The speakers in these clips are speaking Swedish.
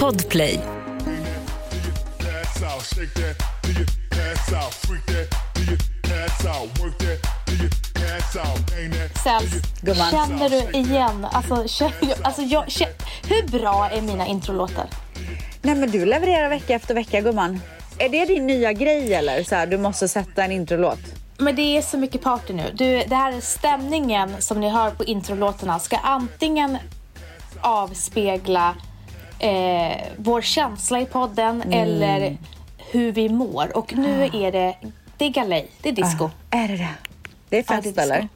Podplay. Sells, Gumman. känner du igen... Alltså, känner, alltså jag, känner, hur bra är mina introlåtar? Nej men du levererar vecka efter vecka gumman. Är det din nya grej eller? Så här, du måste sätta en introlåt. Men det är så mycket party nu. Du, det här är stämningen som ni hör på introlåtarna ska antingen avspegla eh, vår känsla i podden Mm. eller hur vi mår. Och nu Ah. är det, det är galej, det är disco. Är det det? Det Ja, det är är Ah. fest disco. eller?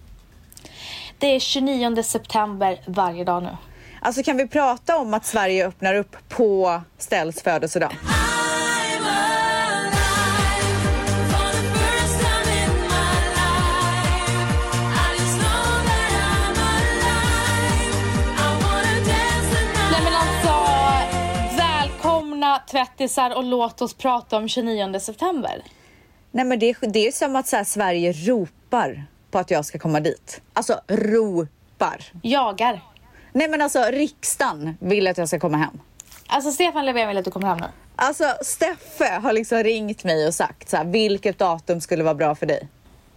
Det är 29 september varje dag nu. Alltså kan vi prata om att Sverige öppnar upp på Stells födelsedag? Nej men alltså, välkomna tvättisar och låt oss prata om 29 september. Nej men det, är- det är som att så här, Sverige ropar på att jag ska komma dit. Alltså ropar. Jagar. Nej men alltså riksdagen vill att jag ska komma hem. Alltså Stefan Löfven vill att du kommer hem nu. Alltså Steffe har liksom ringt mig och sagt så här, vilket datum skulle vara bra för dig?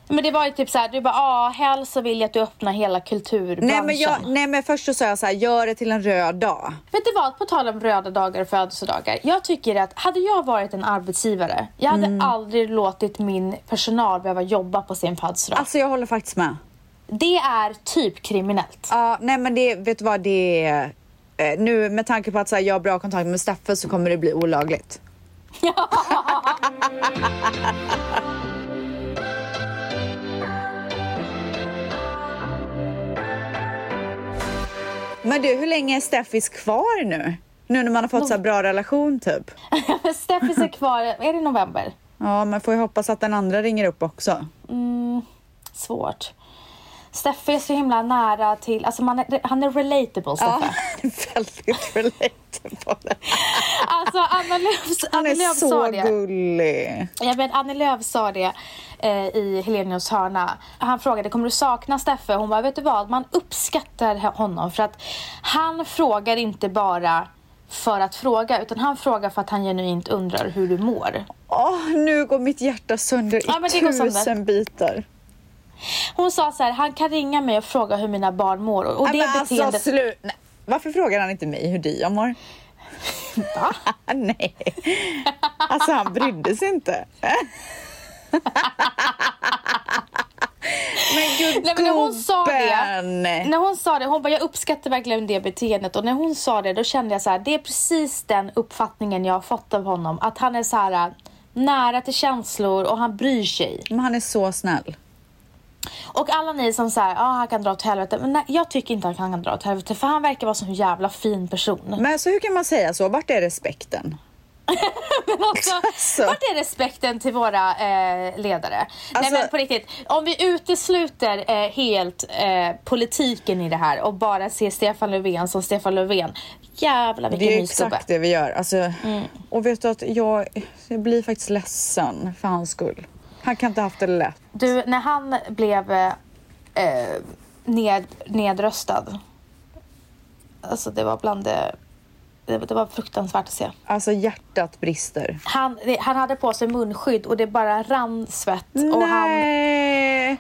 Men det var ju typ såhär, du bara ah, helst så vill jag att du öppnar hela kulturbranschen. Nej men, jag, nej men först så sa jag så här, gör det till en röd dag. Vet du vad, på tal om röda dagar och födelsedagar. Jag tycker att hade jag varit en arbetsgivare, jag hade Mm. aldrig låtit min personal behöva jobba på sin födelsedag. Alltså jag håller faktiskt med. Det är typ kriminellt. Ja, nej men det, vet du vad det är? eh, Nu med tanke på att så här, jag har bra kontakt med Steffe så kommer det bli olagligt. men du, hur länge är Steffis kvar nu? Nu när man har fått så här bra relation typ. Steffis är kvar, är det november? Ja, man får ju hoppas att den andra ringer upp också. Svårt. Steffe är så himla nära till, alltså man är, han är relatable Ja, Steffe. väldigt relatable. Alltså Anna Lööf Han Anna är Lööf så sa det. gullig. Ja, men Annie Lööf sa det eh, i Helenius hörna. Han frågade kommer du sakna Steffe? Hon bara, vet du vad? Man uppskattar he- honom för att han frågar inte bara för att fråga utan han frågar för att han genuint undrar hur du mår. Åh, nu går mitt hjärta sönder i Ja, men det går tusen sönder. bitar. Hon sa så här, han kan ringa mig och fråga hur mina barn mår och och Nej, det men alltså, beteendet... slu- Nej. Varför frågar han inte mig hur Dion mår? Va? Nej. Alltså han brydde sig inte. men gud Nej, men när hon sa det, gubben. när hon sa det, hon bara jag uppskattar verkligen det beteendet och när hon sa det då kände jag så här, det är precis den uppfattningen jag har fått av honom att han är så här äh, nära till känslor och han bryr sig. Men han är så snäll. Och alla ni som säger ja han kan dra åt helvete, men nej, jag tycker inte att han kan dra åt helvete för han verkar vara en sån jävla fin person. Men så hur kan man säga så? Vart är respekten? Men alltså, Alltså. vart är respekten till våra eh, ledare? Alltså- Nej men på riktigt, om vi utesluter eh, helt eh, politiken i det här och bara ser Stefan Löfven som Stefan Löfven. Jävlar vilken Det är mysgubbe. Mm. exakt det vi gör. Alltså, Och vet du att jag, jag blir faktiskt ledsen för hans skull. Han kan inte haft det lätt. Du, när han blev eh, eh, ned, nedröstad. Alltså det var bland det, det, det var fruktansvärt att se. Alltså hjärtat brister. Han, det, han hade på sig munskydd och det bara rann svett. Och, han, Nej!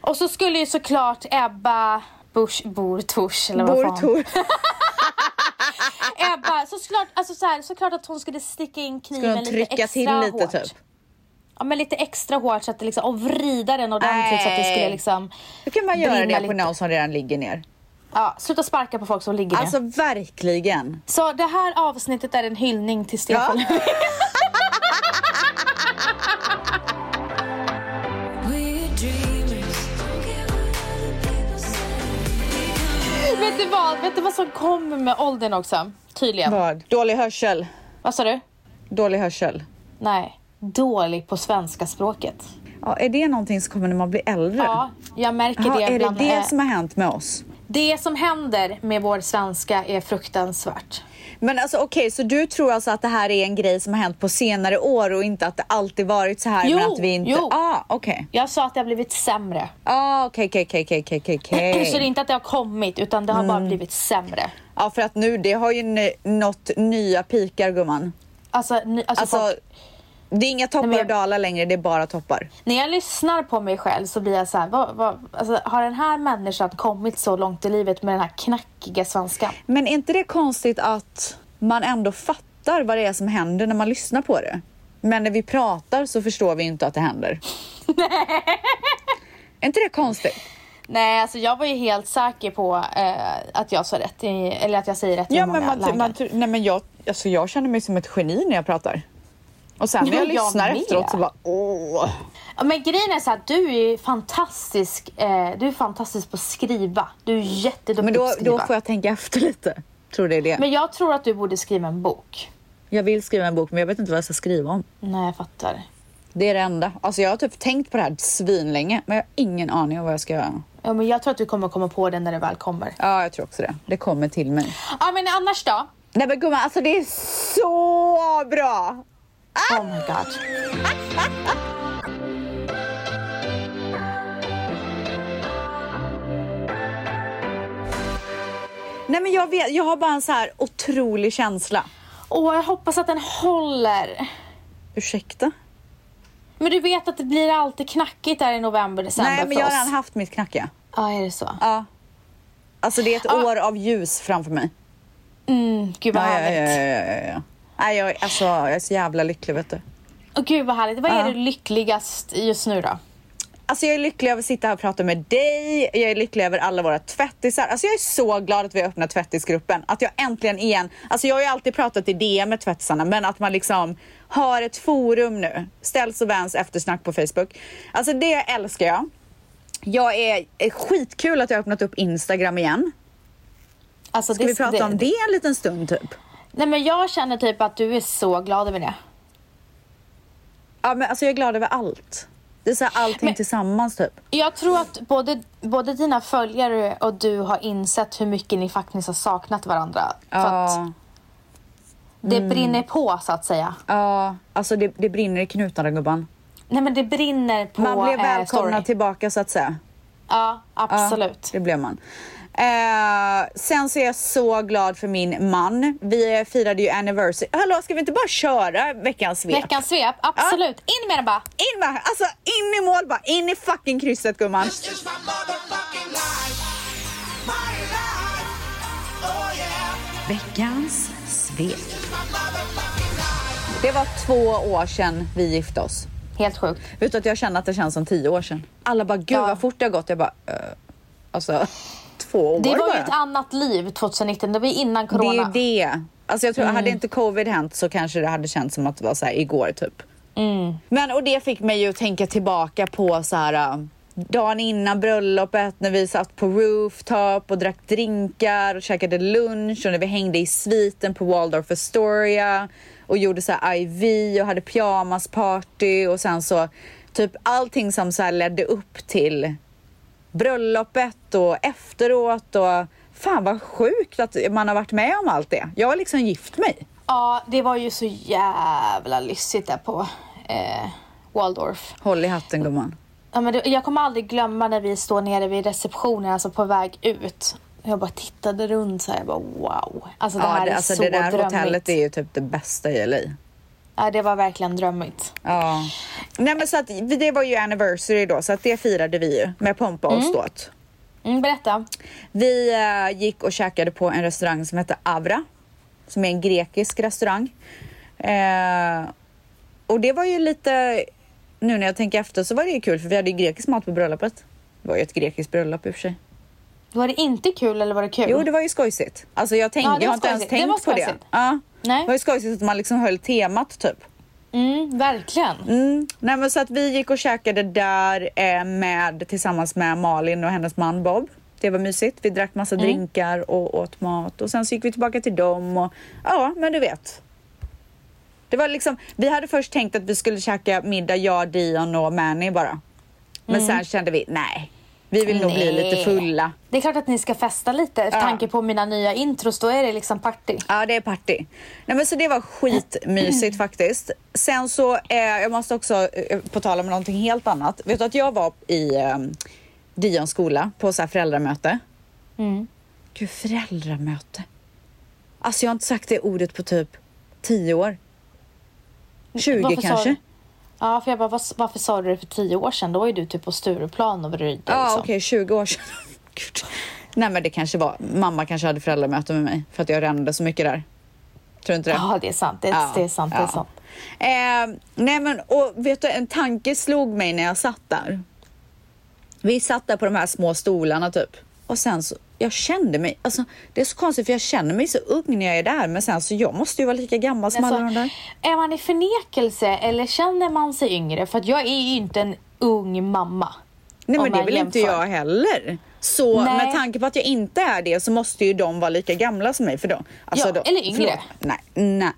och så skulle ju såklart Ebba Busch, Bor Thors eller vad fan. Bortor. Ebba, så såklart, alltså så här, såklart att hon skulle sticka in Ska kniven de lite extra trycka till lite hårt. typ? Ja men lite extra hårt så att det liksom, och vrida den ordentligt så att det Nej. skulle liksom Hur kan man göra Brinna det på lite. någon som redan ligger ner? Ja, sluta sparka på folk som ligger ner. Alltså verkligen. Så det här avsnittet är en hyllning till Stefan Ja. Löfven. Vet du vad? Vet du vad som kommer med åldern också? Tydligen. Vad? Dålig hörsel. Vad sa du? Dålig hörsel. Nej. Dålig på svenska språket. Ja, är det någonting som kommer när man blir äldre? Ja, jag märker Jaha, det är det bland... det eh, som har hänt med oss? Det som händer med vår svenska är fruktansvärt. Men alltså okej, så du tror alltså att det här är en grej som har hänt på senare år och inte att det alltid varit så här Jo, men att vi inte... jo. Ah, okej. Jag sa att det har blivit sämre. Ah, okej, okej, okej, okej, okej, okej, Så det är inte att det har kommit, utan det har bara blivit sämre. Ja, för att nu, det har ju n- nått nya pikar gumman. Alltså, ni, alltså, Alltså, folk, det är inga toppar men jag- och dalar längre, det är bara toppar. när jag lyssnar på mig själv så blir jag så här, vad, vad, alltså, har den här människan kommit så långt i livet med den här knackiga svenskan? Men är inte det konstigt att man ändå fattar vad det är som händer när man lyssnar på det? Men när vi pratar så förstår vi ju inte att det händer. är inte det konstigt? Nej, alltså jag var ju helt säker på eh, att jag sa rätt, i, eller att jag säger rätt i Ja, många men man, lägen. man, nej, men jag, alltså, jag känner mig som ett geni när jag pratar. Och sen när Ja, jag jag lyssnar med. efteråt så bara åh. Ja, Men grejen är så här, du är ju fantastisk, eh, du är fantastisk på att skriva. Du är jätteduktig Men på då, att skriva. då får jag tänka efter lite. Tror det är det. Men jag tror att du borde skriva en bok. Jag vill skriva en bok men jag vet inte vad jag ska skriva om. Nej, jag fattar. Det är det enda. Alltså jag har typ tänkt på det här svinlänge men jag har ingen aning om vad jag ska göra. Ja, men jag tror att du kommer komma på den när det väl kommer. Ja, jag tror också det. Det kommer till mig. Ja, men annars då? Nej men gumman, alltså det är så bra! Oh my god. Nej men jag vet, jag har bara en så här otrolig känsla. Åh, jag hoppas att den håller. Ursäkta? Men du vet att det blir alltid knackigt där i november, december Nej men för jag har oss. redan haft mitt knackiga. Ja, är det så? Mm, Ja. Alltså det är ett Ja. år av ljus framför mig. Mm, gud vad Ja, ja, härligt. ja, ja, ja, ja. Nej, jag, alltså, jag är så jävla lycklig vet du. Åh, gud vad härligt. Vad är Ja. du lyckligast just nu då? Alltså jag är lycklig över att sitta här och prata med dig, jag är lycklig över alla våra tvättisar. Alltså jag är så glad att vi har öppnat tvättisgruppen. Att jag äntligen igen, alltså jag har ju alltid pratat i DM med tvättisarna men att man liksom har ett forum nu. Ställs och väns eftersnack på Facebook. Alltså det älskar jag. Jag är, är skitkul att jag har öppnat upp Instagram igen. Alltså, Ska vi prata om det en liten stund typ? Nej, men jag känner typ att du är så glad över det. Ja men alltså jag är glad över allt. Det är så här allting Men- tillsammans typ. Jag tror att både, både dina följare och du har insett hur mycket ni faktiskt har saknat varandra. För att Ja, det Mm. brinner på så att säga. ja, alltså det, det brinner i knutarna gubban. Nej men det brinner på Man blev eh, välkomna story. tillbaka så att säga. Ja, Ja, absolut. det blev man. Eh, sen så är jag så glad för min man. Vi eh, firade ju anniversary. Hallå, ska vi inte bara köra veckans svep? Veckans svep, absolut. In med den bara. In, bara, alltså, in i mål bara, in i fucking krysset gumman. This is my motherfucking life. My life. Oh yeah. Veckans svep. This is my motherfucking life. Det var två år sedan vi gifte oss. Helt sjukt. Vet du att jag känner att det känns som tio år sedan. Alla bara, gud Ja. vad fort det har gått. Jag bara, eh, alltså två år Det var ju bara. ett annat liv 2019, det var ju innan corona. Det är det. Alltså jag tror, hade inte covid hänt så kanske det hade känts som att det var så här igår typ. Men och det fick mig ju att tänka tillbaka på så här äh, dagen innan bröllopet när vi satt på rooftop och drack drinkar och käkade lunch och när vi hängde i sviten på Waldorf Astoria och gjorde så här IV och hade pyjamasparty och sen så typ allting som så här ledde upp till bröllopet och efteråt och fan vad sjukt att man har varit med om allt det. Jag har liksom gift mig. Ja, det var ju så jävla lyssigt där på eh, Waldorf. Håll i hatten gumman. Ja, men det, jag kommer aldrig glömma när vi står nere vid receptionen, alltså på väg ut. Jag bara tittade runt så här, jag bara wow. Alltså det Ja, här det, är alltså, så det där drömmigt. hotellet är ju typ det bästa i LA. Ja, det var verkligen drömmigt. Ja. Nej men så att vi- det var ju anniversary då så att det firade vi ju med pompa och ståt. Mm, berätta. Vi eh, gick och käkade på en restaurang som heter Avra. Som är en grekisk restaurang. Eh, och det var ju lite, nu när jag tänker efter så var det ju kul för vi hade ju grekisk mat på bröllopet. Det var ju ett grekiskt bröllop i och för sig. Var det inte kul eller var det kul? Jo, det var ju skojsigt. Alltså jag, tänk, Ja, det jag var har inte ens skojsigt. tänkt Det var på det. skojsigt. Ja. Nej. Det var ju skojsigt att man liksom höll temat typ. Mm, verkligen. Mm. Nej, men så att vi gick och käkade där eh, med, tillsammans med Malin och hennes man Bob. Det var mysigt. Vi drack massa drinkar och åt mat och sen så gick vi tillbaka till dem och ja, men du vet. Det var liksom, vi hade först tänkt att vi skulle käka middag, jag, Dion och Manny bara. Men sen kände vi, nej, Vi vill nog bli Nej. lite fulla. Det är klart att ni ska festa lite. Med Ja. tanke på mina nya intros, då är det liksom party. Ja, det är party. Nej, men så det var skitmysigt faktiskt. Sen så, eh, jag måste också, eh, på tal om någonting helt annat. Vet du att jag var i eh, Dions skola på så här föräldramöte? Mm. Gud, föräldramöte. Alltså jag har inte sagt det ordet på typ 10 år. 20 Varför sa kanske? du- liksom? Ja, för jag bara, "Vad- varför sa du det för tio år sedan? Då var ju du typ på Stureplan och brydde Ja, liksom. okej, 20 år sedan. Gud. Nej, men det kanske var, mamma kanske hade föräldramöte med mig för att jag rände så mycket där. Tror du inte det? Ja, det är sant. Det, Ja, det är sant. Det ja. är sant. Eh, nej men, och vet du, en tanke slog mig när jag satt där. Vi satt där på de här små stolarna typ. Och sen så, jag kände mig, alltså det är så konstigt för jag känner mig så ung när jag är där men sen så jag måste ju vara lika gammal som alla de Alltså, där. är man i förnekelse eller känner man sig yngre? För att jag är ju inte en ung mamma. Nej om men det man vill inte jämför. jag heller. Så Nej. med tanke på att jag inte är det så måste ju de vara lika gamla som mig för då. Alltså, Ja, då eller yngre. förlåt. Nej, nej.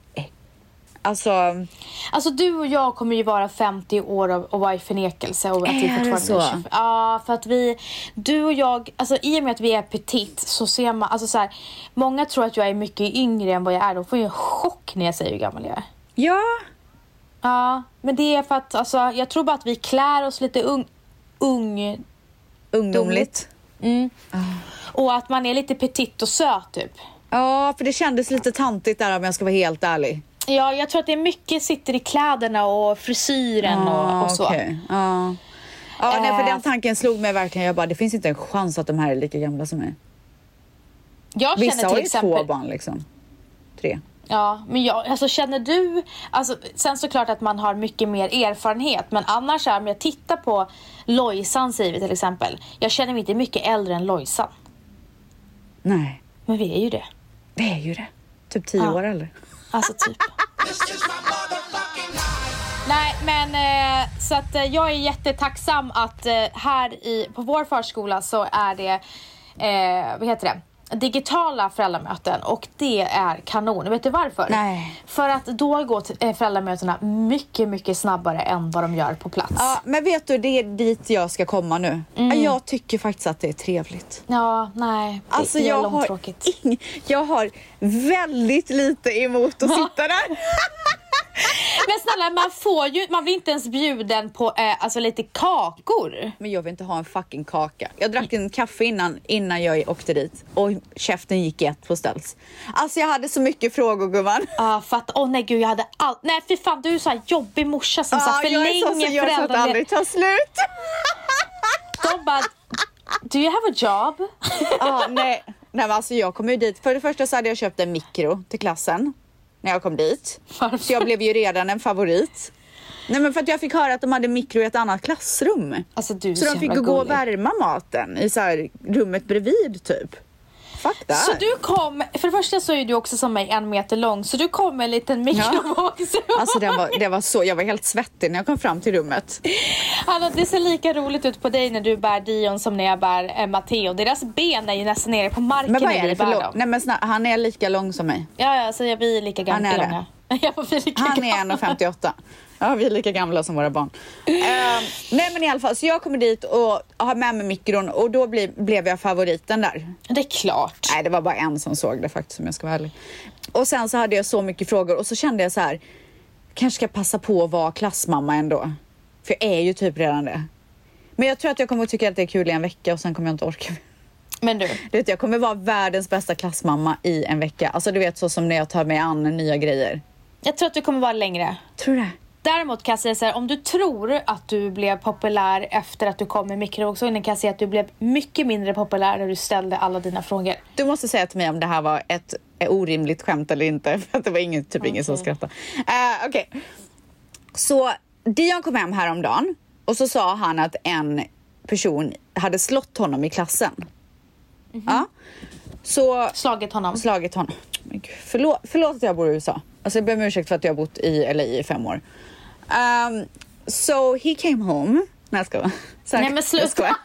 Alltså, Alltså du och jag kommer ju vara 50 år av och vara i förnekelse. Och att Är vi det fortfarande så? 25. Ja, för att vi, du och jag, alltså i och med att vi är petit så ser man, alltså så här, många tror att jag är mycket yngre än vad jag är. De får ju en chock när jag säger hur gammal jag är. ja. Ja, men det är för att alltså, jag tror bara att vi klär oss lite ung, ung Ungdomligt. och att man är lite petit och söt typ. Ja, för det kändes lite tantigt där om jag ska vara helt ärlig. Ja, jag tror att det är mycket sitter i kläderna och frisyren och, och så. Ah, okej. Ja. Ja, nej, för Eh. den tanken slog mig verkligen. Jag bara, det finns inte en chans att de här är lika gamla som mig. Jag Vissa känner har till ju två exempel... barn liksom. Tre. Ja, men jag, alltså känner du... Alltså, sen såklart att man har mycket mer erfarenhet, men annars så här, om jag tittar på Lojsan säger vi till exempel. Jag känner mig inte mycket äldre än Lojsan, Nej, men vi är ju det. det är ju det. Typ tio Ja. år eller? Alltså typ. This is my motherfucking life. Nej, men eh, så att eh, jag är jättetacksam att eh, här i, på vår förskola så är det, eh, vad heter det, digitala föräldramöten och det är kanon. Vet du varför? Nej. För att då går t- eh, föräldramötena mycket, mycket snabbare än vad de gör på plats. Ja, men vet du, det är dit jag ska komma nu. Jag tycker faktiskt att det är trevligt. Ja, nej. Det Alltså är jag har, långtråkigt. ing, jag har väldigt lite emot att sitta där. Men snälla, man får ju, man blir inte ens bjuden på eh, alltså lite kakor. Men jag vill inte ha en fucking kaka. Jag drack en kaffe innan, innan jag åkte dit och käften gick i ett på ställs. Alltså jag hade så mycket frågor gumman. Ja, för att, åh nej gud jag hade allt. Nej fy fan du är så här jobbig morsa som så här Ja, jag är sån som förlänger gör så att det föräldraledighet. aldrig tar slut. De bara, do you have a job? ah, nej. nej men alltså jag kom ju dit. För det första så hade jag köpt en mikro till klassen när jag kom dit. Varför? Så jag blev ju redan en favorit. Nej men för att jag fick höra att de hade mikro i ett annat klassrum. Alltså du är så de fick jävla ju gå och gullig. värma maten i så här rummet bredvid typ. Fuck that. Så du kom, för det första så är du också som mig en meter lång, så du kom med en liten mikrovågsugn. Alltså den var, det var så, jag var helt svettig när jag kom fram till rummet. Alltså, det ser lika roligt ut på dig när du bär Dion som när jag bär eh, Matteo. Deras ben är ju nästan nere på marken Men vad när är vi det för bär lång? dem. Nej men snälla, han är lika lång som mig. Ja, ja, så jag blir lika gamla. Han är det. långa. Jag blir lika Han är gammal. 1,58. Ja, vi är lika gamla som våra barn. Ehm, nej men i alla fall, så jag kommer dit och har med mig mikron och då blir, blev jag favoriten där. Det är klart. Nej, det var bara en som såg det faktiskt om jag ska vara ärlig. Och sen så hade jag så mycket frågor och så kände jag så här, kanske ska jag passa på att vara klassmamma ändå. För jag är ju typ redan det. Men jag tror att jag kommer att tycka att det är kul i en vecka och sen kommer jag inte orka. Men du, Du vet, jag kommer vara världens bästa klassmamma i en vecka. Alltså du vet så som när jag tar mig an nya grejer. jag tror att du kommer vara längre. Tror du det? Däremot kan jag säga så här, om du tror att du blev populär efter att du kom med mikrovågsugnen kan jag säga att du blev mycket mindre populär när du ställde alla dina frågor. Du måste säga till mig om det här var ett ett orimligt skämt eller inte. För att det var ingen, typ ingen som skrattade. Uh, Okej. Så Dion kom hem häromdagen och så sa han att en person hade slått honom i klassen. Ja. Så Slagit honom. slagit honom. Men gud, förlåt, förlåt att jag bor i USA. Alltså jag ber om ursäkt för att jag har bott i LA i fem år. Um, so he came home. Nej jag skojar. Så här- Nej, men sluta. Jag skojar.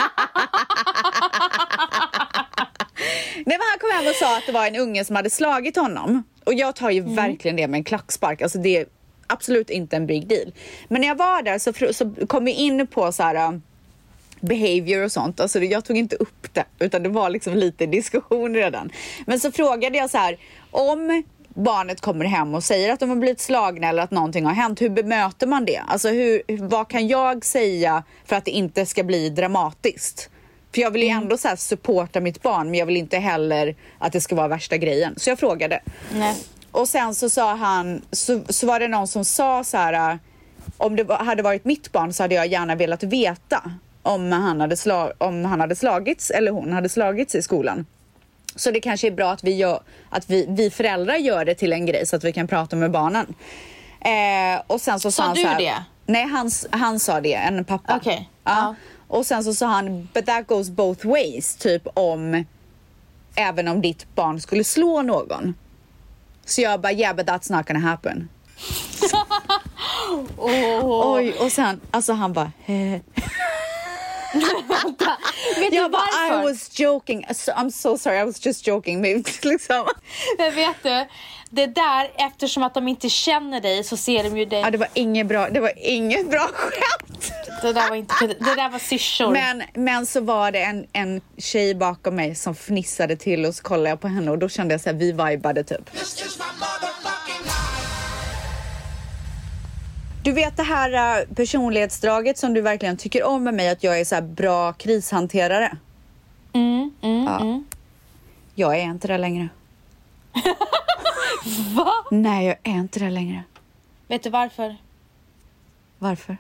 Nej men han kom hem och sa att det var en unge som hade slagit honom. Och jag tar ju Mm. verkligen det med en klackspark. Alltså det är absolut inte en big deal. Men när jag var där så, fr- så kom vi in på så här. um, behavior och sånt. Alltså, jag tog inte upp det, utan det var liksom lite diskussion redan. Men så frågade jag så här, om barnet kommer hem och säger att de har blivit slagna eller att någonting har hänt, hur bemöter man det? Alltså hur, vad kan jag säga för att det inte ska bli dramatiskt? För jag vill ju ändå så här supporta mitt barn, men jag vill inte heller att det ska vara värsta grejen. Så jag frågade. Nej. Och sen så sa han, så, så var det någon som sa så här, äh, om det var- hade varit mitt barn så hade jag gärna velat veta om han hade, sla, om han hade slagits eller hon hade slagits i skolan. Så det kanske är bra att vi, gör, att vi, vi föräldrar gör det till en grej så att vi kan prata med barnen. Eh, och sen så sa Sa han du så här, det? Nej, han, s- han sa det, en pappa. Okej, Ja. ja. Och sen så sa han, but that goes both ways, typ om även om ditt barn skulle slå någon. Så jag bara, yeah but that's not gonna happen. Oj, och sen, alltså han bara, eh. Vet jag du bara, I varför? was joking, So- I'm so sorry, I was just joking. Men liksom. Men vet du, det där, eftersom att de inte känner dig så ser de ju dig. Ja, det var inget bra, det var inget bra skämt. Det där var, inte, det där var syrsor. Men, men så var det en, en tjej bakom mig som fnissade till och så kollade jag på henne och då kände jag så här, vi vibade typ. This is my motherfucking life. Du vet det här eh, personlighetsdraget som du verkligen tycker om med mig, att jag är så här bra krishanterare. Mm, mm, Ja. mm. Jag är inte det längre. Va? Nej, jag är inte det längre. Vet du varför? Varför?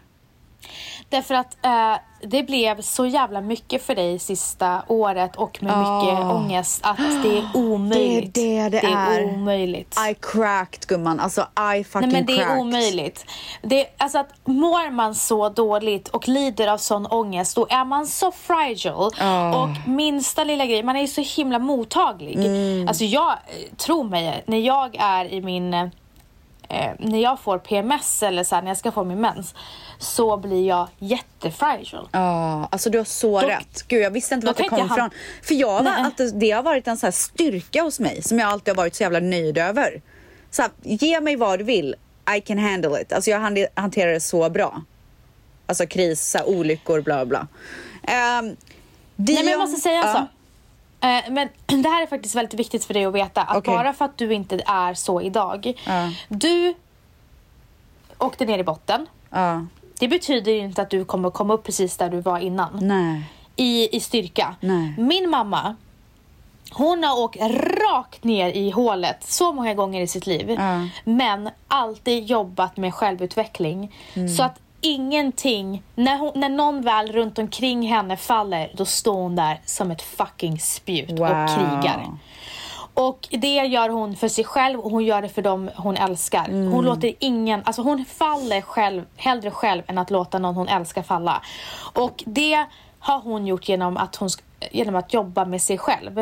Därför att eh, det blev så jävla mycket för dig sista året och med Ja. mycket ångest att det är omöjligt. Ah. Det är det det det är. är. omöjligt. I cracked gumman, alltså I fucking Nej men det cracked. är omöjligt. Det, alltså att mår man så dåligt och lider av sån ångest, då är man så fragile. Ja. Och minsta lilla grej, man är ju så himla mottaglig. Mm. Alltså jag, eh, tro mig, när jag är i min, eh, när jag får PMS eller så här, när jag ska få min mens, så blir jag jättefragile. Ja, alltså du har så Då- rätt. Gud, jag visste inte då vart det kan kom inte ifrån. han- För jag var Nej. alltid, det har varit en så här styrka hos mig som jag alltid har varit så jävla nöjd över. Så här, ge mig vad du vill, I can handle it. Alltså jag hand- hanterar det så bra. Alltså kris, så här, olyckor, bla bla. Um, Nej, men jag måste säga en sak. Eh, Men det här är faktiskt väldigt viktigt för dig att veta. Att Okej. bara för att du inte är så idag. Ja. Du åkte ner i botten. Ja, Det betyder ju inte att du kommer komma upp precis där du var innan. nej. I, i styrka. Nej. Min mamma, hon har åkt rakt ner i hålet så många gånger i sitt liv. Ja. Men alltid jobbat med självutveckling. Mm. Så att ingenting, när, hon, när någon väl runt omkring henne faller, då står hon där som ett fucking spjut Wow. och krigar. Och det gör hon för sig själv och hon gör det för dem hon älskar. Hon låter ingen, alltså hon faller själv, hellre själv än att låta någon hon älskar falla. Och det har hon gjort genom att, hon, sk- genom att jobba med sig själv.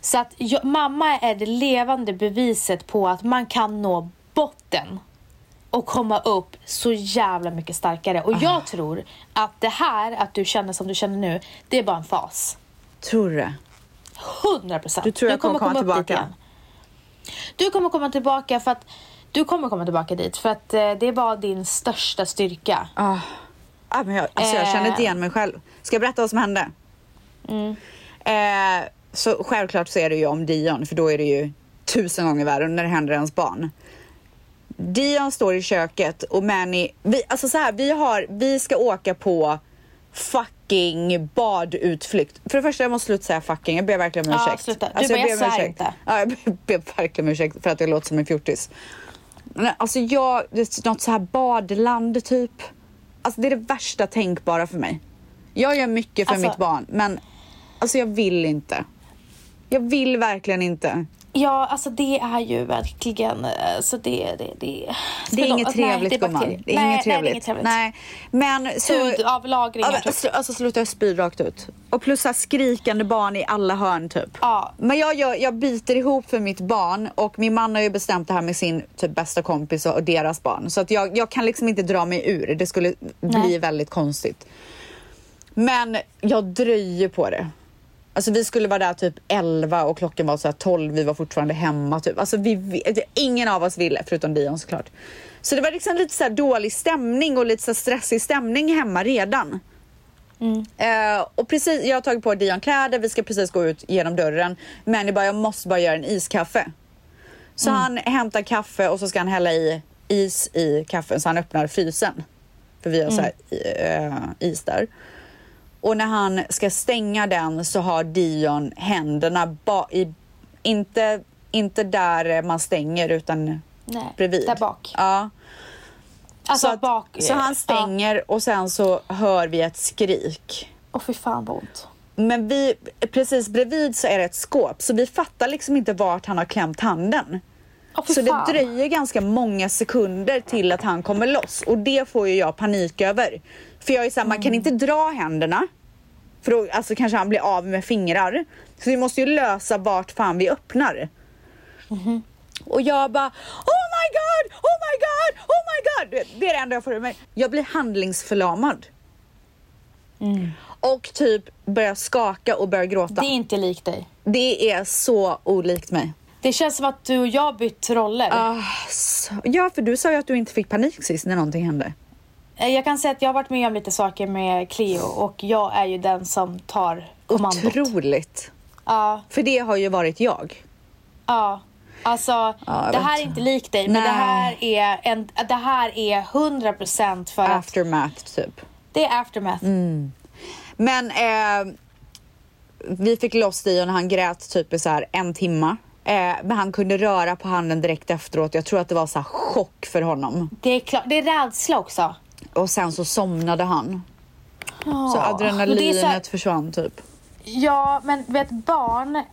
Så att jag, mamma är det levande beviset på att man kan nå botten och komma upp så jävla mycket starkare. Och jag tror att det här, att du känner som du känner nu, det är bara en fas. Tror du? 100 procent. Du tror jag kommer komma tillbaka? Du kommer komma tillbaka för att du kommer komma tillbaka dit för att eh, det var din största styrka. Ah. Ah, men jag, alltså jag Eh. kände inte igen mig själv. Ska jag berätta vad som hände? Mm. Eh, så självklart så är det ju om Dion, för då är det ju tusen gånger värre när det händer ens barn. Dion står i köket och Manny, vi, alltså så här, vi, har, vi ska åka på fucking badutflykt. För det första, jag måste sluta säga fucking, jag ber verkligen om Ja, ursäkt. Alltså, sluta. Du bara, ber jag om svär ursäkt. inte. Ja, jag ber- ber verkligen om ursäkt för att jag låter som en fjortis. Nej, Alltså jag, det är något så här badland typ. Alltså det är det värsta tänkbara för mig. Jag gör mycket för Alltså- mitt barn, men alltså jag vill inte. Jag vill verkligen inte. Ja, alltså det är ju verkligen... eh, Så det, det, det. Det är Förlåt, inget alltså, nej, trevligt det är gumman. bakterier. Det är nej, inget Nej, det trevligt. är inget trevligt. Nej, men så... Hudavlagringar, Ja, men typ. sl- Alltså sluta, jag spyr rakt ut. Och plus så här skrikande barn i alla hörn typ. Ja. Men jag, gör, jag biter ihop för mitt barn och min man har ju bestämt det här med sin typ bästa kompis och och deras barn. Så att jag, jag kan liksom inte dra mig ur. Det skulle bli Nej. väldigt konstigt. Men jag dröjer på det. Alltså vi skulle vara där typ 11 och klockan var så här 12, vi var fortfarande hemma typ. Alltså vi, vi, ingen av oss ville, förutom Dion såklart. Så det var liksom lite så här dålig stämning och lite så här stressig stämning hemma redan. Eh, och precis, jag har tagit på Dion kläder, vi ska precis gå ut genom dörren. Men jag bara, jag måste bara göra en iskaffe. Så Mm. han hämtar kaffe och så ska han hälla i is i kaffen så han öppnar frysen. För vi har så här, Mm. eh, is där. Och när han ska stänga den så har Dion händerna ba- i, inte, inte där man stänger utan Nej, bredvid. där bak. Ja. Alltså så, att, bak. så han stänger och sen så hör vi ett skrik. Åh fy fan vad ont. Men vi, precis bredvid så är det ett skåp så vi fattar liksom inte vart han har klämt handen. Åh, fy Så det fan. dröjer ganska många sekunder till att han kommer loss och det får ju jag panik över. För jag är såhär, Mm. man kan inte dra händerna. För då alltså, kanske han blir av med fingrar. Så vi måste ju lösa vart fan vi öppnar. Mhm. Och jag bara Oh my god, oh my god, oh my god. Du vet, Det är det enda jag får ur mig. Jag blir handlingsförlamad. Och typ börjar skaka och börjar gråta. Mm. Det är inte likt dig. det är så olikt mig. Det känns som att du och jag bytt roller. Ass. Ah, Ja, för du sa ju att du inte fick panik sist när någonting hände. Eh, Jag kan säga att jag har varit med om lite saker med Cleo och jag är ju den som tar kommandot. Otroligt. Ja, För det har ju varit jag. ja. Alltså, jag det här vet. är inte likt dig, men det Nej. här är, en, det här är 100% för att Aftermath, typ. det är aftermath. Mm. Men eh, vi fick loss Dion och han grät typ i så här en timma. Eh, men han kunde röra på handen direkt efteråt. Jag tror att det var så här chock för honom. Det, är klart, det är rädsla också. Och sen så somnade han. Så Ja. Men det är adrenalinet så här- försvann typ. Ja, men vet barn,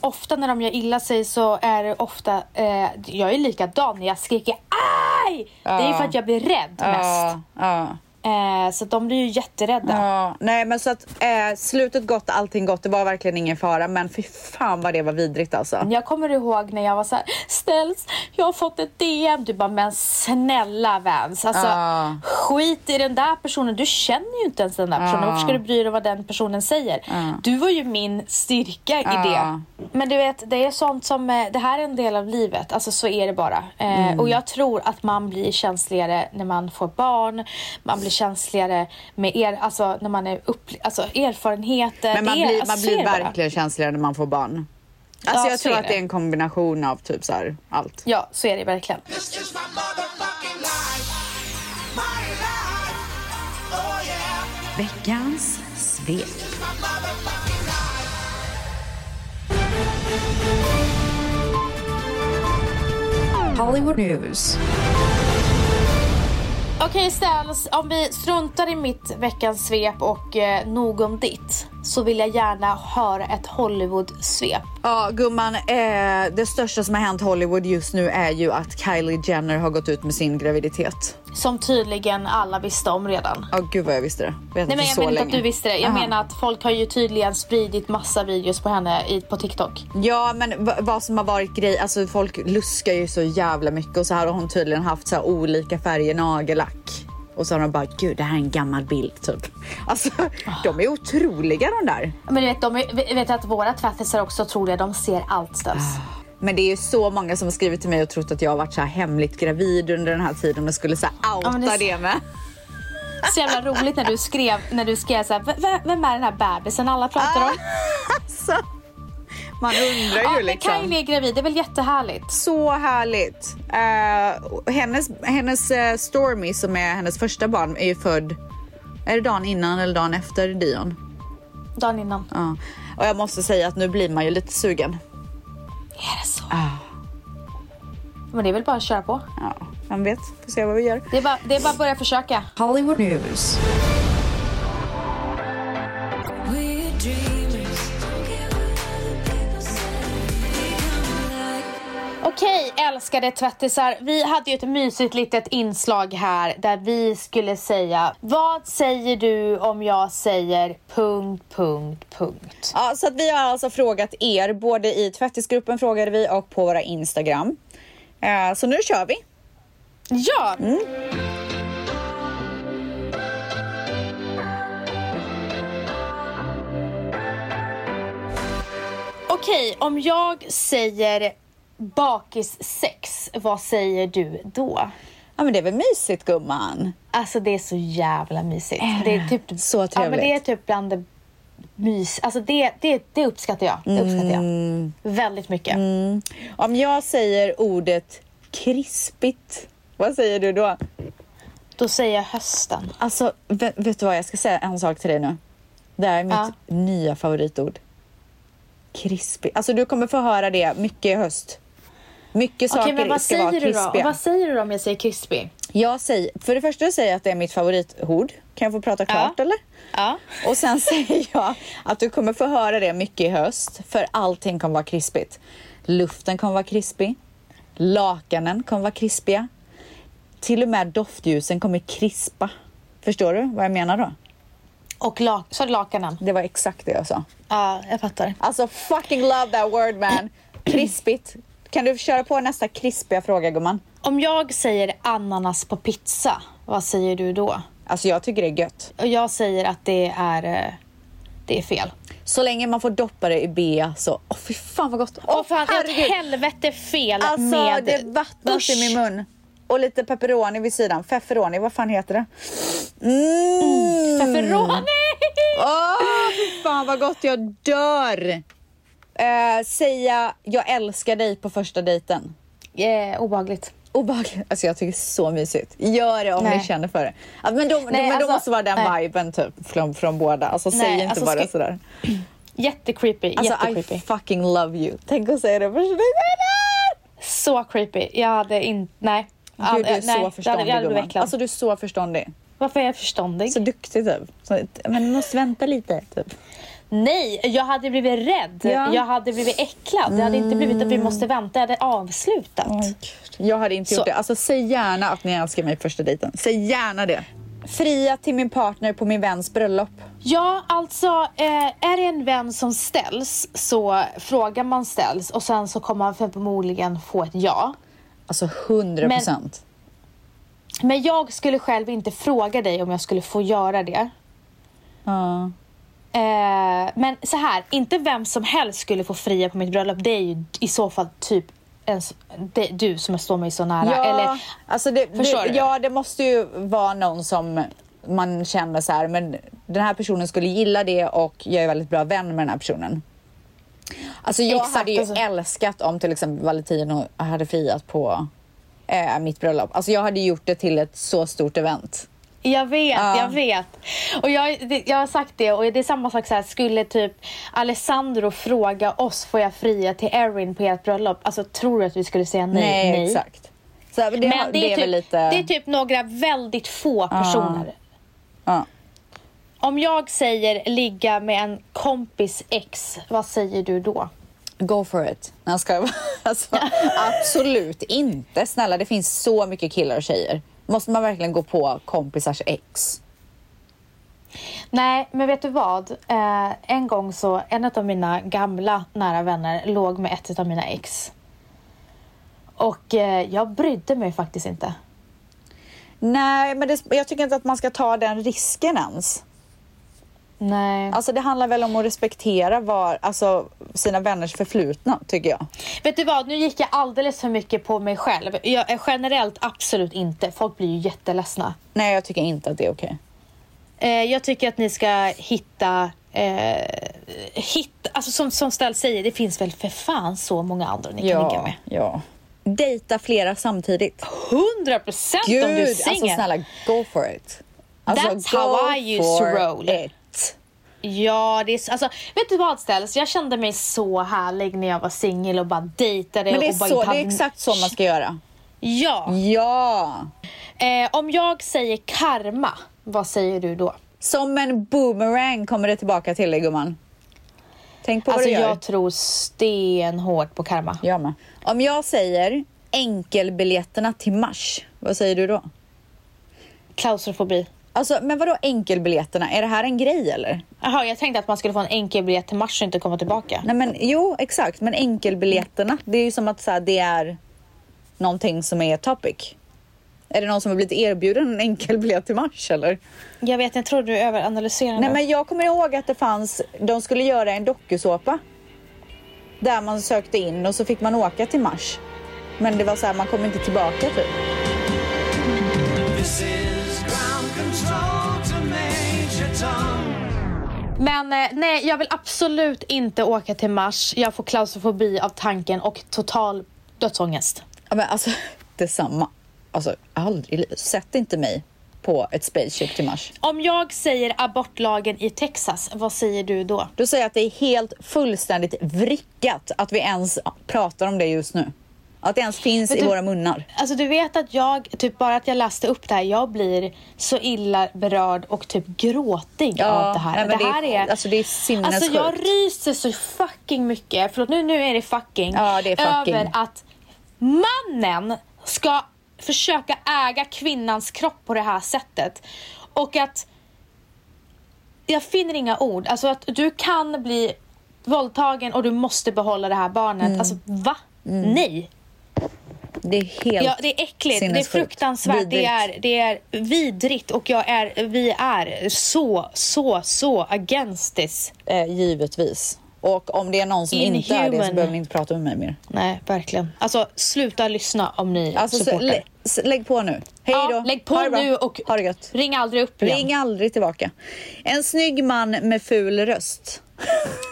ofta när de gör illa sig så är det ofta, eh, jag är likadan när jag skriker aj! Det är ju för att jag blir rädd mest. Ja, ja. Eh, så de blir ju jätterädda. Ja, nej men så att eh, slutet gott, allting gott. Det var verkligen ingen fara, men fy fan vad det var vidrigt alltså. Jag kommer ihåg när jag var så här, ställs, jag har fått ett DM. Du bara, men snälla Vans, alltså, Ja. skit i den där personen. Du känner ju inte ens den där personen. Ja. Varför ska du bry dig om vad den personen säger? Du var ju min styrka i Ja. det. Men du vet, det är sånt som, eh, det här är en del av livet. Alltså så är det bara. Eh, Mm. Och jag tror att man blir känsligare när man får barn. Man blir känsligare med er, alltså när man är upp, alltså erfarenheter. Men man Det är- blir, alltså, man så är blir det bara. verkligen känsligare när man får barn. Alltså Ja, jag så tror är att det är det. en kombination av typ så här allt. Ja, så är det verkligen. This is my motherfucking life. My life. Oh yeah. Veckans svep. This is my motherfucking life. Hollywood News. Okej Ställs, om vi struntar i mitt veckans svep och eh, nog om ditt så vill jag gärna höra ett Hollywood-svep. Ja gumman, eh, det största som har hänt Hollywood just nu är ju att Kylie Jenner har gått ut med sin graviditet. Som tydligen alla visste om redan. Ja gud vad jag visste det. Jag vet Nej men jag inte så menar inte länge. att du visste det. Jag Aha. menar att folk har ju tydligen spridit massa videos på henne i, på TikTok. Ja, men v- vad som har varit grej, alltså folk luskar ju så jävla mycket och så här har hon tydligen haft så här olika färger nagellack. Och så har de bara, gud det här är en gammal bild typ. Alltså, de är otroliga de där. Men du vet, de, är- vet att våra tvättisar också tror jag, de ser allt Ställs. Men det är ju så många som har skrivit till mig och trott att jag har varit så här hemligt gravid under den här tiden och skulle så här Ja, outa men det är det, så- med. Så jävla roligt när du skrev, när du skrev så här, "V- v- vem är den här bebisen alla pratar om? Alltså, man undrar Ja, ju men liksom. Kylie Ah. är gravid, det är väl jättehärligt? Så härligt. Eh, hennes hennes eh, Stormy som är hennes första barn är ju född, är det dagen innan eller dagen efter Dion? Dagen innan. Ja. Och jag måste säga att nu blir man ju lite sugen. Är det så? Men det är väl bara att köra på. Ja, vem vet, får se vad vi gör. Det är bara, det är bara att börja försöka. Hollywood News. Okej, älskade tvättisar. Vi hade ju ett mysigt litet inslag här där vi skulle säga Vad säger du om jag säger punkt, punkt, punkt? Ja, så att vi har alltså frågat er, både i tvättisgruppen frågade vi och på våra Instagram. Eh, så nu kör vi. Ja! Mm. Okej, om jag säger bakissex, vad säger du då? Ja, men det är väl mysigt gumman? Alltså det är så jävla mysigt. Det är typ, Eh, Så Ja, men det är trevligt. typ bland det mys... Alltså det, det, det uppskattar jag. Det uppskattar jag. Mm. Väldigt mycket. Om jag säger ordet krispigt, vad säger du då? Då säger jag hösten. Alltså, vet, vet du vad? Jag ska säga en sak till dig nu. Det här är mitt Ja. nya favoritord. Krispigt. Alltså, du kommer få höra det mycket i höst. Mycket Okej, saker men vad ska säger vara du då? Och krispiga. vad säger du då om jag säger krispig? Jag säger, för det första säger jag att det är mitt favoritord. Kan jag få prata klart eller? Ja. Och sen säger jag att du kommer få höra det mycket i höst. För allting kommer vara krispigt. Luften kommer vara krispig. Lakanen kommer vara krispiga. Till och med doftljusen kommer krispa. Förstår du vad jag menar då? Och lak- så lakanen. Det var exakt det jag sa. Ja, jag fattar. Alltså fucking love that word man. Krispigt. Kan du köra på nästa krispiga fråga gumman? Om jag säger ananas på pizza, vad säger du då? Alltså jag tycker det är gött. Och jag säger att det är, eh, det är fel. Så länge man får doppa det i bea så, åh fy fan vad gott. Åh Och fan, det är herregud. ett helvete fel Alltså med... det vattnas i Usch. min mun. Och lite pepperoni vid sidan. Pepperoni, vad fan heter det? Mm. Pepperoni! Åh, fy fan vad gott, jag dör! Eh, säga jag älskar dig på första dejten. Eh, obehagligt. obehagligt. Alltså jag tycker det är så mysigt. Gör det om Nej. ni känner för det. Alltså, men då, Nej, men alltså, då måste vara den nej. viben typ från, från båda. Alltså säg Nej, inte alltså, bara ska- sådär. Jättecreepy. Alltså I jättecreepy. fucking love you. Tänk att säga det första dejten. Så creepy. Jag hade inte... Nej. Ja, Gud, du är eh, nej. så Jag hade, förståndig jag hade blivit gumman. äcklad. Alltså du är så förståndig. Varför är jag förståndig? Så duktig typ. Så, men du måste vänta lite typ. Nej, jag hade blivit rädd. Ja. Mm. Jag hade blivit äcklad. Det hade inte blivit att vi måste vänta. Jag hade avslutat. Jag hade inte Så- gjort det. Alltså säg gärna att ni älskar mig på första dejten. Säg gärna det. Fria till min partner på min väns bröllop. Ja, alltså eh, är det en vän som ställs så frågar man ställs och sen så kommer man förmodligen få ett ja. Alltså 100 procent. Men jag skulle själv inte fråga dig om jag skulle få göra det. Ja. Eh, men så här, inte vem som helst skulle få fria på mitt bröllop. Det är ju i så fall typ en, s- det, du som står mig så nära. Ja, Eller, alltså det, Förstår det, du? ja, det måste ju vara någon som man känner så här, men den här personen skulle gilla det och jag är väldigt bra vän med den här personen. Alltså jag Exakt, hade ju alltså. älskat om till exempel Valentino hade friat på eh, mitt bröllop. Alltså jag hade gjort det till ett så stort event. Jag vet, Ja. jag vet. Och jag, det- jag har sagt det och det är samma sak så här, skulle typ Alessandro fråga oss får jag fria till Erin på ert bröllop? Alltså tror du att vi skulle säga nej? exakt. Så här, det, Men har- det, är väl typ, lite... det är typ några väldigt få personer. ja. Om jag säger ligga med en kompis ex, vad säger du då? Go for it. Nej, jag skojar bara. alltså, absolut inte. Snälla, det finns så mycket killar och tjejer. Måste man verkligen gå på kompisars ex? Nej, men vet du vad? Eh, en gång så, en av mina gamla nära vänner låg med ett av mina ex. Och eh, jag brydde mig faktiskt inte. Nej, men det, jag tycker inte att man ska ta den risken ens. Nej. Alltså, det handlar väl om att respektera var, alltså, sina vänners förflutna, tycker jag. Vet du vad, nu gick jag alldeles för mycket på mig själv. Jag, eh, generellt absolut inte, folk blir ju jätteledsna. Nej, jag tycker inte att det är okej. Eh, jag tycker att ni ska hitta, eh, hitta alltså som, som Ställ säger, det finns väl för fan så många andra ni kan ligga med. ja. Dejta flera samtidigt. 100 procent om du Gud, är alltså singel. snälla, go for it. Alltså, That's how I used to roll. It. Ja, det är, så- alltså, vet du vad Ställs? Jag kände mig så härlig när jag var singel och bara dejtade. Men det är, och bara så, inte det hade- är exakt så man ska göra. Ja. Ja! Eh, om jag säger karma, vad säger du då? Som en boomerang kommer det tillbaka till dig gumman. Tänk på Alltså vad du gör. jag tror stenhårt på karma. Jag med. Om jag säger enkelbiljetterna till mars, vad säger du då? Klaustrofobi. Alltså, men vadå enkelbiljetterna? Är det här en grej eller? Jaha, jag tänkte att man skulle få en enkel biljett till mars och inte komma tillbaka. Nej men jo, exakt. Men enkelbiljetterna, det är ju som att så här, det är någonting som är topic. Är det någon som har blivit erbjuden en enkelbiljett till mars eller? Jag vet, jag tror du överanalyserar Nej nu. men jag kommer ihåg att det fanns, de skulle göra en dokusåpa. Där man sökte in och så fick man åka till Mars. Men det var så här, man kom inte tillbaka typ. This is ground control to Major Tom. Men eh, nej, jag vill absolut inte åka till Mars. Jag får klaustrofobi av tanken och total dödsångest. Ja, men alltså, detsamma. Alltså, aldrig. i livet. Sätt inte mig på ett spaceship till Mars. Om jag säger abortlagen i Texas, vad säger du då? Då säger jag att det är helt fullständigt vrickat att vi ens pratar om det just nu. Att det ens finns Vet i du- våra munnar. Alltså du vet att jag, typ bara att jag läste upp det här, jag blir så illa berörd och typ gråtig av det här. nej, men det här är, alltså det är Alltså sinnessjukt. jag ryser så fucking mycket, förlåt nu, nu är det fucking, Ja, det är fucking. över att mannen ska försöka äga kvinnans kropp på det här sättet. Och att jag finner inga ord. Alltså att du kan bli våldtagen och du måste behålla det här barnet. Mm. Alltså va? Nej. Det är helt Ja, det är äckligt, det är sinnessjukt. fruktansvärt, det Vidrigt. är, det är vidrigt och jag är, vi är så, så, så against this. Eh, givetvis. Och om det är någon som inte är det så Inhuman. behöver ni inte prata med mig mer. Nej, verkligen. Alltså, sluta lyssna om ni Alltså, så, supportar. lä, s- lägg på nu. Hej då. ja, lägg på Ha det bra. nu och ha det gött. ring aldrig upp igen. Ring aldrig tillbaka. En snygg man med ful röst.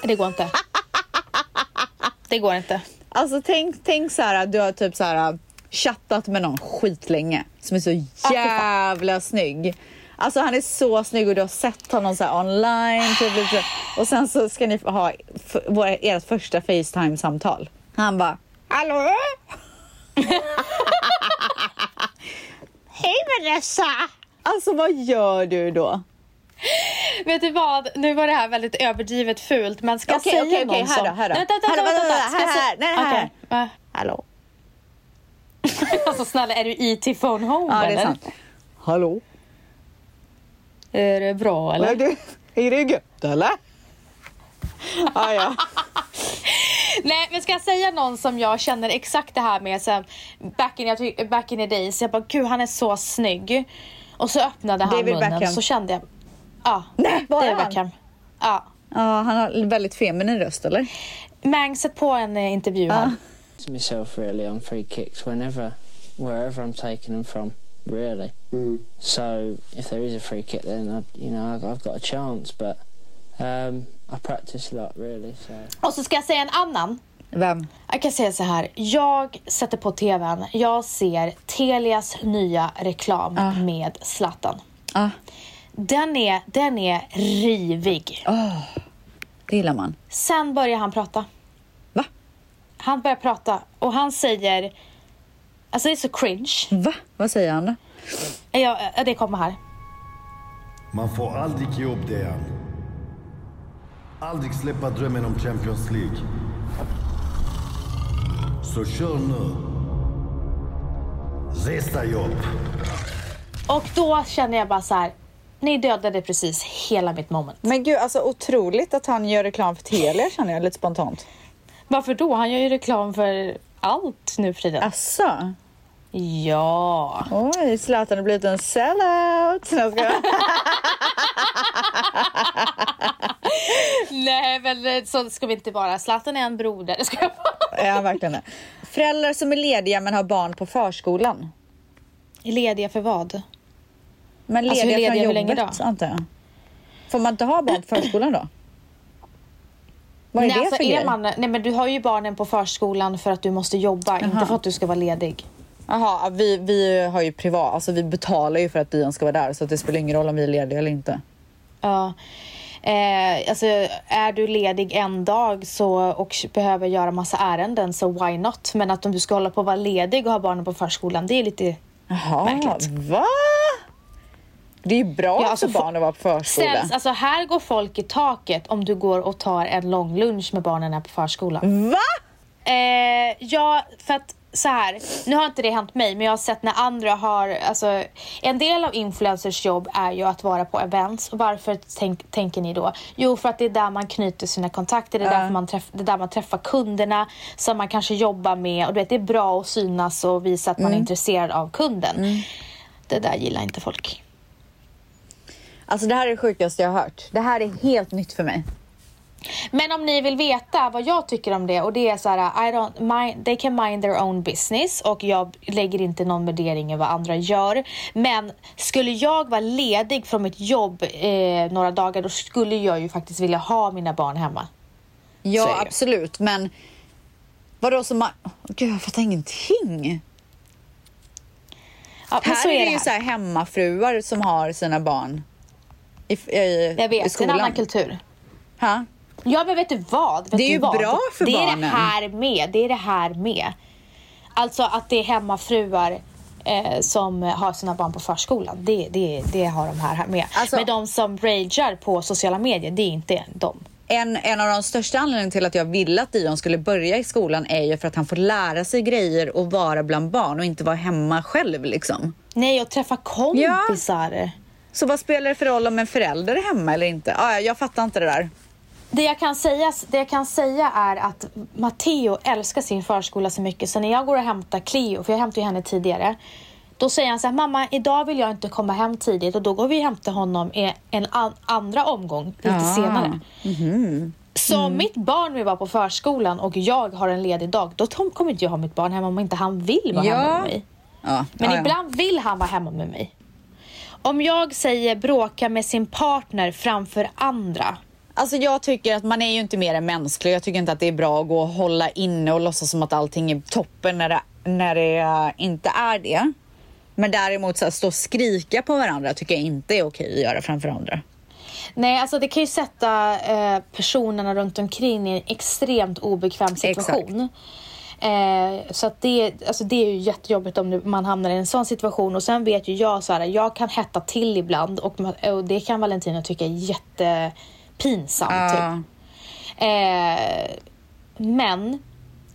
Det går inte. Det går inte. Alltså tänk, tänk så här, du har typ så här chattat med någon skitlänge som är så Ah, fan. jävla snygg. Alltså han är så snygg och du har sett honom så här online typ, lite så. och sen så ska ni ha f- våra- ert första Facetime-samtal. Han bara Hallå? Hej Vanessa! Alltså vad gör du då? Vet du vad? Nu var det här väldigt överdrivet fult, men ska jag Okej, säga okej, någon okej, här som... då, här då. Nej, Vänta, vänta, Här då, vänta, vänta, vänta. Ska jag här, säga- här, nej, här. Okej, va? Hallå? Alltså snälla, är du IT phone home Ja det eller? är sant. Hallå? Är det bra eller? Är det, är det gött eller? Ah, ja. Nej, men ska jag säga någon som jag känner exakt det här med sen back in, jag ty- back in the days. Jag bara, gud han är så snygg. Och så öppnade han David munnen Beckham. så kände jag, ja, Nej, var är David han? Beckham. Ja. Ja, han har en väldigt feminin röst, eller? Mang, sätt på en eh, intervju här. to myself really on free kicks whenever, wherever I'm taking them from, really. So if there is a free kick, then I, you know I've, I've got a chance. But um, I practice a lot, really. So. Och så ska jag säga en annan. Vem? Jag kan säga så här, jag sätter på tvn, jag ser Telias nya reklam med Zlatan. Ja, Den är, den är rivig. det gillar man. Sen börjar han prata. Va? Han börjar prata och han säger... Alltså det är så cringe. Va? Vad säger han då? Ja, ja, det kommer här. Man får aldrig ge upp det än. Aldrig släppa drömmen om Champions League. Så kör nu. Resa dig upp. Och då känner jag bara så här. Ni dödade precis hela mitt moment. Men gud, alltså otroligt att han gör reklam för Telia känner jag lite spontant. Varför då? Han gör ju reklam för allt nu för tiden. Asså? Ja. Oj, Zlatan har blivit en sellout. Nej, jag skojar. Nej, men eh, så ska vi inte vara. Zlatan är en broder. Ska jag vara? Ja, verkligen. det. Föräldrar som är lediga men har barn på förskolan. Lediga för vad? Men lediga, Alltså, hur lediga, från hur jobbet, länge då? antar jag. Får man inte ha barn på förskolan då? Vad är Nej, det alltså, för är grej? man, nej, men du har ju barnen på förskolan för att du måste jobba, inte för att du ska vara ledig. Jaha, vi, vi har ju privat, alltså vi betalar ju för att Dion ska vara där så att det spelar ingen roll om vi är lediga eller inte. Ja. Eh, alltså, är du ledig en dag så, och behöver göra massa ärenden så why not? Men att om du ska hålla på att vara ledig och ha barnen på förskolan, det är lite... Jaha, Märkligt. va? Det är ju bra Ja, alltså, för barn att vara på förskola. Ställs, alltså här går folk i taket om du går och tar en lång lunch med barnen här på förskolan. Va? Eh, ja, för att så här, nu har inte det hänt mig, men jag har sett när andra har, alltså en del av influencers jobb är ju att vara på events. Och varför tänk, tänker ni då? Jo, för att det är där man knyter sina kontakter, det är, därför man träff, det är där man träffar kunderna som man kanske jobbar med och du vet, det är bra att synas och visa att man är intresserad av kunden. Det där gillar inte folk. Alltså det här är det sjukaste jag har hört. Det här är helt nytt för mig. Men om ni vill veta vad jag tycker om det och det är så här, I don't mind, they can mind their own business och jag lägger inte någon värdering i vad andra gör. Men skulle jag vara ledig från mitt jobb eh, några dagar då skulle jag ju faktiskt vilja ha mina barn hemma. Så är Ja, det ju. absolut. Men vadå som man... Gud, jag fattar ingenting. Ja, men här så är det, här. ju så här hemmafruar som har sina barn i, i, jag i vet, det är en skolan. annan kultur. Ha? Ja men vet du vad? Vet Det är du ju vad? bra för det är Det barnen. här med. Det är det här med. Alltså att det är hemmafruar eh, som har sina barn på förskolan. Det, det, det har de här med. Alltså- Men de som ragear på sociala medier, det är inte de. En, en av de största anledningarna till att jag ville att Dion skulle börja i skolan är ju för att han får lära sig grejer och vara bland barn och inte vara hemma själv liksom. Nej, och träffa kompisar. Så vad spelar det för roll om en förälder är hemma eller inte? Ah, ja, jag fattar inte det där. Det jag, kan säga, det jag kan säga är att Matteo älskar sin förskola så mycket så när jag går och hämtar Cleo, för jag hämtade ju henne tidigare, då säger han så här, mamma idag vill jag inte komma hem tidigt och då går vi och hämtar honom i en an- andra omgång lite Ah. Mhm. Mm. senare. Så om mitt barn vill vara på förskolan och jag har en ledig dag, då tom- kommer inte jag ha mitt barn hemma om inte han vill vara hemma med mig. Ja, Men ah, ja. ibland vill han vara hemma med mig. Om jag säger bråka med sin partner framför andra, Alltså jag tycker att man är ju inte mer än mänsklig. Jag tycker inte att det är bra att gå och hålla inne och låtsas som att allting är toppen när det, när det eh, inte är det. Men däremot så här, stå och skrika på varandra tycker jag inte är okej att göra framför andra. Nej, alltså det kan ju sätta eh, personerna runt omkring i en extremt obekväm situation. Eh, så att det, alltså det är ju jättejobbigt om det- man hamnar i en sån situation. Och sen vet ju jag så här, jag kan hetta till ibland och, ma- och det kan Valentina tycka är jättepinsamt. Typ. Eh, men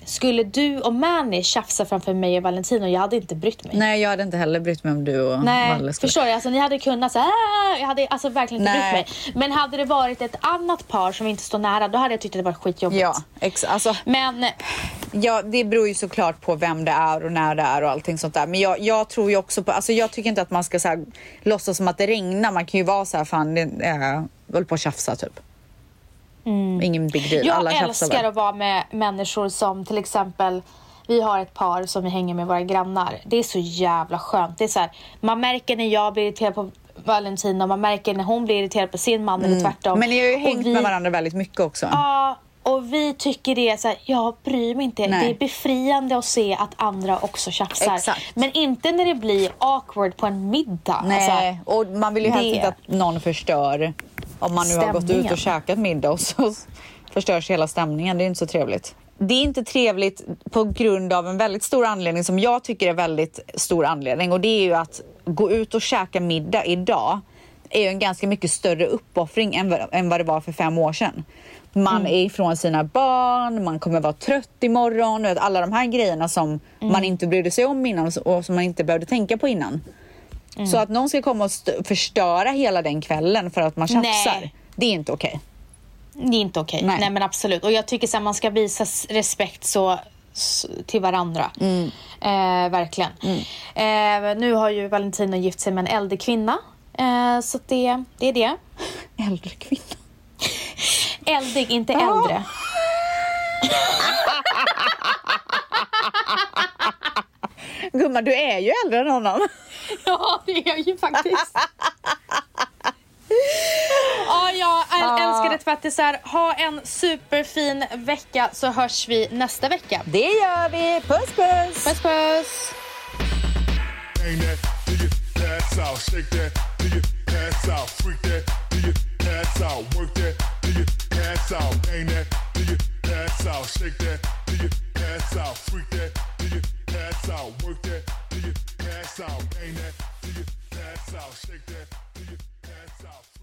skulle du och Mani tjafsa framför mig och Valentino, jag hade inte brytt mig. Nej, jag hade inte heller brytt mig om du och Nej, Valle skulle... förstår jag. Alltså, ni hade kunnat säga jag hade alltså verkligen inte Nej. brytt mig. Men hade det varit ett annat par som inte står nära, då hade jag tyckt att det var skitjobbigt. Ja, ex- alltså, Men ja, det beror ju såklart på vem det är och när det är och allting sånt där. Men jag, jag tror ju också på, alltså jag tycker inte att man ska så här, låtsas som att det regnar. Man kan ju vara så här, fan, det, äh, håller på att tjafsa typ. Ingen big deal. Mm. jag Alla tjafsar väl. älskar att vara med människor som till exempel vi har ett par som vi hänger med våra grannar. Det är så jävla skönt. Det är så här, man märker när jag blir irriterad på Valentina, man märker när hon blir irriterad på sin man eller tvärtom. Mm. Men ni har ju Och hängt vi- med varandra väldigt mycket också. Ja, och vi tycker det är så här, jag bryr mig inte. Nej. Det är befriande att se att andra också tjafsar. Exakt. Men inte när det blir awkward på en middag. Nej, Alltså, och man vill ju helst det- inte att någon förstör om man nu har gått ut Stämningen. och käkat middag och så förstörs hela stämningen. Det är inte så trevligt. Det är inte trevligt på grund av en väldigt stor anledning som jag tycker är väldigt stor anledning och det är ju att gå ut och käka middag idag är ju en ganska mycket större uppoffring än, vad- än vad det var för fem år sedan. Man är ifrån sina barn, man kommer vara trött imorgon, du vet, alla de här grejerna som man inte brydde sig om innan och så- och som man inte behövde tänka på innan. Så att någon ska komma och st- förstöra hela den kvällen för att man tjafsar, Nej. det är inte okej. det är inte okej. Nej. Nej. men absolut. Och jag tycker så här, man ska visa s- respekt så, s- till varandra. Mm. Eh, verkligen. Eh, nu har ju Valentino gift sig med en äldre kvinna. Eh, så att det, det är det. Äldre kvinna. Eldig, inte äldre. Gumman, du är ju äldre än honom. Ja, det är jag ju faktiskt. Ja, jag äl- älskar det för att det är så här, ha en superfin vecka så hörs vi nästa vecka. Det gör vi. Puss puss! Puss puss! Bang that to your ass out. Shake that to your ass out. Freak that to your ass out. Work that to your ass out. Bang that to your ass out. Shake that to your ass out. Freak that to your ass out. Work that to your ass out. Bang that to your ass out. Shake that to your ass out.